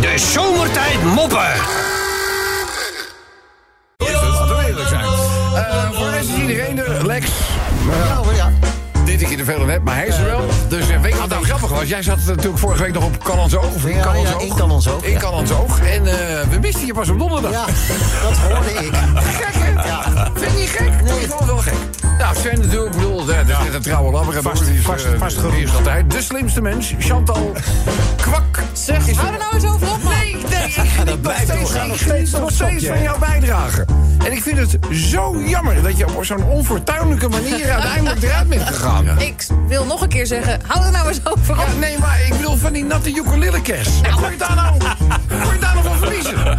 De zomertijd moppen. Laten we eerlijk zijn. Eh, voor de rest is iedereen er. Lex. eh, Oh, ja. dit ik je er veel aan heb, maar hij is er wel. Dus eh, weet je wat nou grappig was? Jij zat natuurlijk vorige week nog op Kan ons Oog. Of in Ja, Kan ons ja, Oog. in Kan ons Oog, In ja. Kan ons Oog. En eh, we misten je pas op donderdag. Ja, dat hoorde ik. Gek, hè? Ja. Vind je niet gek? Nee. Ik vond het wel gek. Nou, Sven natuurlijk, ik bedoel, dat is net een trouwe labber. Vast- die is, vast- eh, vast die is altijd de slimste mens, Chantal Kwak. Zeg, Hou er nou eens over op, man. Nee, Ja, dat blijft steeds- doorgaan. ik nog geniet steeds, nog nog steeds steeds van van jouw bijdrage. En ik vind het zo jammer dat je op zo'n onfortuinlijke manier uiteindelijk eruit bent gegaan. Ik wil nog een keer zeggen, hou er nou eens over op. Ja, nee, maar ik bedoel van die natte ukulelekers. Kon je daar nou, kon je daar nog van verliezen?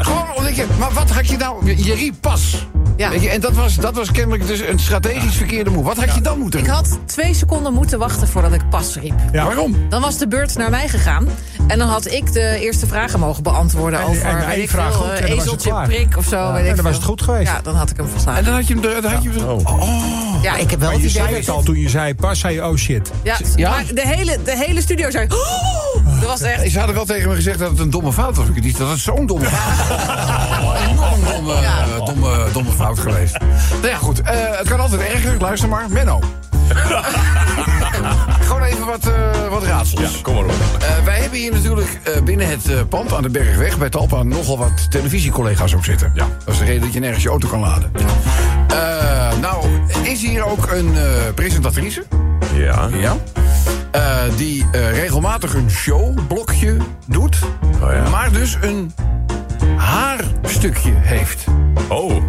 Gewoon omdat je... Maar wat had je nou... Je, je riep pas. Ja. Weet je, en dat was, dat was kennelijk dus een strategisch verkeerde move. Wat had je dan moeten Ik doen? had twee seconden moeten wachten voordat ik pas riep. Ja. Waarom? Dan was de beurt naar mij gegaan. En dan had ik de eerste vragen mogen beantwoorden En- over... en één weet ik vraag veel, goed en eh, dan was het ezeltje, klaar. prik of zo. weet en ik dan veel. was het goed geweest. Ja, dan had ik hem En verslagen. dan had je hem... er- Dan had je hem zo- oh. Ja, ik heb wel Maar het je idee zei dat het al toen je zei pas, zei je oh shit. Ja, Ja? maar de hele, de hele studio zei... "Oh!" Dat was echt... Ze hadden wel tegen me gezegd dat het een domme fout was. Ik dacht, dat is zo'n domme fout. Een enorm domme, eh, domme, domme fout geweest. Nou ja, goed. eh, het kan altijd erger. Luister maar. Menno. Gewoon even wat, eh, wat raadsels. Kom maar op. Eh, wij hebben hier natuurlijk eh, binnen het eh, pand aan de Bergweg bij Talpa nogal wat televisiecollega's op zitten. Ja. Dat is de reden dat je nergens je auto kan laden. Eh, nou, is hier ook een eh, presentatrice? Ja. Ja. Eh, die eh, regelmatig een showblokje doet, Oh ja. maar dus een haarstukje heeft. Oh.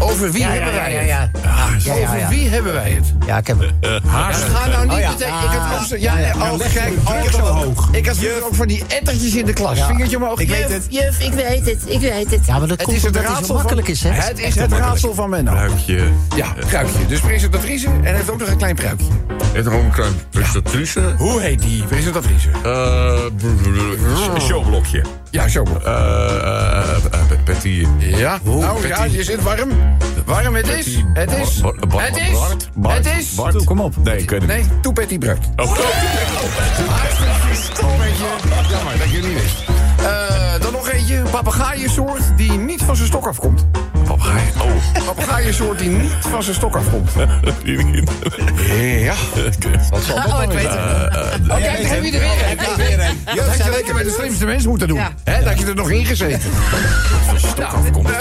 Over wie Ja, ja, hebben ja, wij ja, het? ja. Ah, Ja, ja, over ja. wie hebben wij het? Ja, ik heb hem. Ga nou niet Oh ja. meteen. Ik had ook zo- ja, Ah, ja. oh, Dan leg je kijk, de druk oh, zo dat- hoog. Ik had vroeger ook van die ettertjes in de klas. Vingertje omhoog. Ik Juf, weet het. Juf, ik weet het. Ik weet het. Ja, maar dat Het komt is het omdat het raadsel zo makkelijk van, is, hè? Het is het raadsel van Menno. Ruikje. Ja, pruikje. Dus presentatrice en heeft ook nog een klein pruikje. En nog een klein prestatrice. Hoe heet die presentatrice? Eh, brr, brr, brr, Een showblokje. Ja, zo. Eh, eh, eh, eh, Patty. Ja, nou Patty. ja, je zit warm. Warm, het is. Het is. Bar- bar- bar- Het is. Bart, Bart, Het is. Bart. Toe, kom op. Nee, ik weet het niet. Nee, toe Patty Bruid. Oh, Stop met je. Jammer dat je het niet wist. Eh, dan nog eentje. Een papegaaiensoort die niet van zijn stok afkomt. papegaai. Een papegaaiensoort die niet van zijn stok afkomt. Oh. Ja. Wat zal dat Oh, ik dan weet weer het. zijn? Oh, kijk, daar heb je er weer een. Dat had je lekker bij de slimste mensen moeten doen. Ja. Hè, dat had je er nog in gezeten. Nou. Stok afkomt.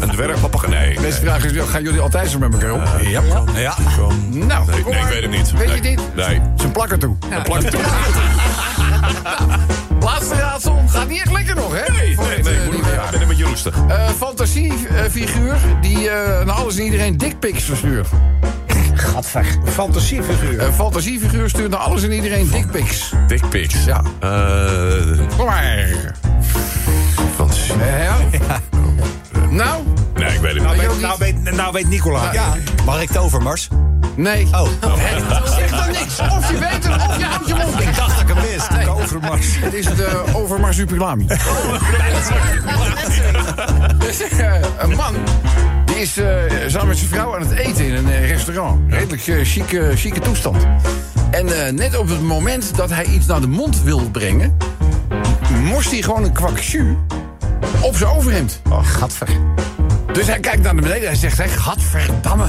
Een dwergpapegaai. Nee, Beste vraag is, gaan jullie altijd zo met elkaar om? Ja. Ja. Nou, Ehm, Nee, kom nee, ik maar. weet het niet. Weet je het Nee. niet? Nee. Ze plakken toe. Een plak toe. Laatste raadsel. Gaat niet echt lekker nog, hè? Nee, Voor nee, het, nee. eh, Ik moet- nieuwe ik jaar. ben een beetje roestig. Eh, Fantasiefiguur die eh, naar alles en iedereen dickpics verstuurt. Gadver. Fantasiefiguur. Een fantasiefiguur stuurt naar alles en iedereen dickpics. Dick pics. Ja. Eh, Kom maar. van- Eh, ja. Nou, Nee, ik weet het Nou niet. je ook niet? weet, nou, weet, nou weet Nicola. Ja. Mag ik tovermars? nee. Oh. Hè? Zeg dan niks. Of je weet het, of je houdt je mond. Ik dacht dat ik hem wist. Overmars. Het eh, is de overmarsupilami. Dus, eh, een man die is eh, samen met zijn vrouw aan het eten in een eh, restaurant. Redelijk eh, chique, chique toestand. En eh, net op het moment dat hij iets naar de mond wil brengen... morst hij gewoon een kwaksu op zijn overhemd. Gadver. Dus hij kijkt naar beneden en hij zegt, hè, gadverdamme.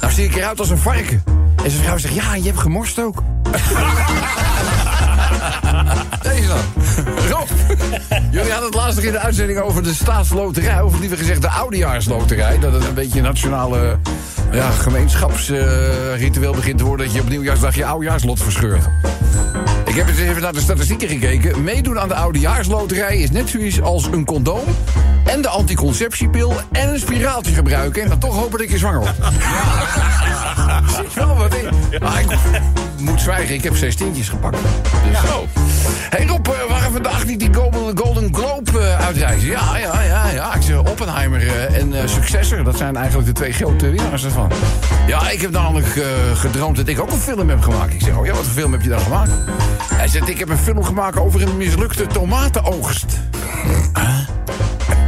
Nou zie ik eruit als een varken. En zijn vrouw zegt, ja, en je hebt gemorst ook. Deze dan. Rob, jullie hadden het laatst nog in de uitzending over de staatsloterij. Of liever gezegd de oudejaarsloterij. Dat het een beetje een nationale ja, gemeenschapsritueel begint te worden. Dat je op nieuwjaarsdag je oudejaarslot verscheurt. Ik heb eens even naar de statistieken gekeken. Meedoen aan de oudejaarsloterij is net zoiets als een condoom... en de anticonceptiepil en een spiraaltje gebruiken... en dan toch hopen dat je zwanger wordt. Ja. Zit wel wat in. Ah, ik moet zwijgen, ik heb zes tientjes gepakt. Dus. Oh. hey Rob, eh, we gaan vandaag niet die Golden, Golden Globe eh, uitreizen. Ja, ja, ja, ja. Ik zeg Oppenheimer eh, en eh, Successor. Dat zijn eigenlijk de twee grote winnaars ervan. Ja, ik heb namelijk eh, gedroomd dat ik ook een film heb gemaakt. Ik zeg, oh ja, wat voor film heb je dan gemaakt? Hij zegt, ik heb een film gemaakt over een mislukte tomatenoogst. Huh?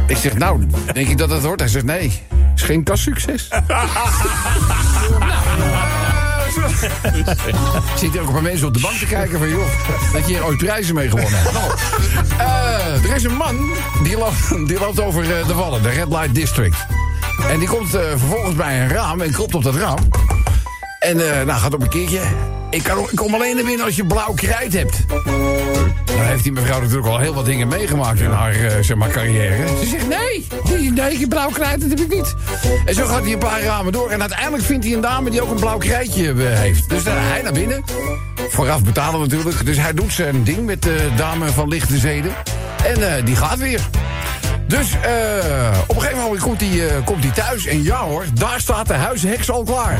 Ik zeg, nou, denk ik dat dat hoort? Hij zegt, nee, is geen kassucces. nou, eh, Zitten ook een paar mensen op de bank te kijken van... joh, dat je hier ooit prijzen mee gewonnen hebt. Nou, eh, er is een man die loopt, die loopt over eh, de Wallen, de Red Light District. En die komt eh, vervolgens bij een raam en klopt op dat raam. En eh, nou, gaat op een keertje. Ik, kan, ik kom alleen naar binnen als je blauw krijt hebt. Dan heeft die mevrouw natuurlijk al heel wat dingen meegemaakt in haar eh, zeg maar, carrière. Ze zegt, nee, die- nee, ik blauw krijt, dat heb ik niet. En zo gaat hij een paar ramen door. En uiteindelijk vindt hij een dame die ook een blauw krijtje eh, heeft. Dus dan hij naar binnen. Vooraf betalen natuurlijk. Dus hij doet zijn ding met de dame van lichte zeden. En eh, die gaat weer. Dus eh, op een gegeven moment komt hij eh, komt hij thuis. En ja hoor, daar staat de huisheks al klaar.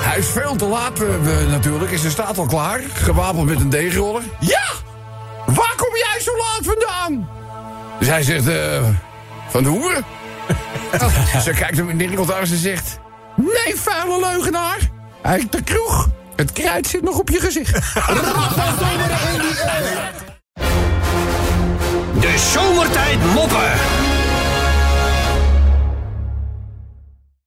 Hij is veel te laat eh, we- natuurlijk. En ze staat al klaar. Gewapend met een deegroller. Ja! Waar kom jij zo laat vandaan? Dus hij zegt, eh, van de hoeren. Oh, ze kijkt hem in de winkel en ze zegt... Nee, vuile leugenaar. Hij is de kroeg. Het kruid zit nog op je gezicht. De zomertijd moppen.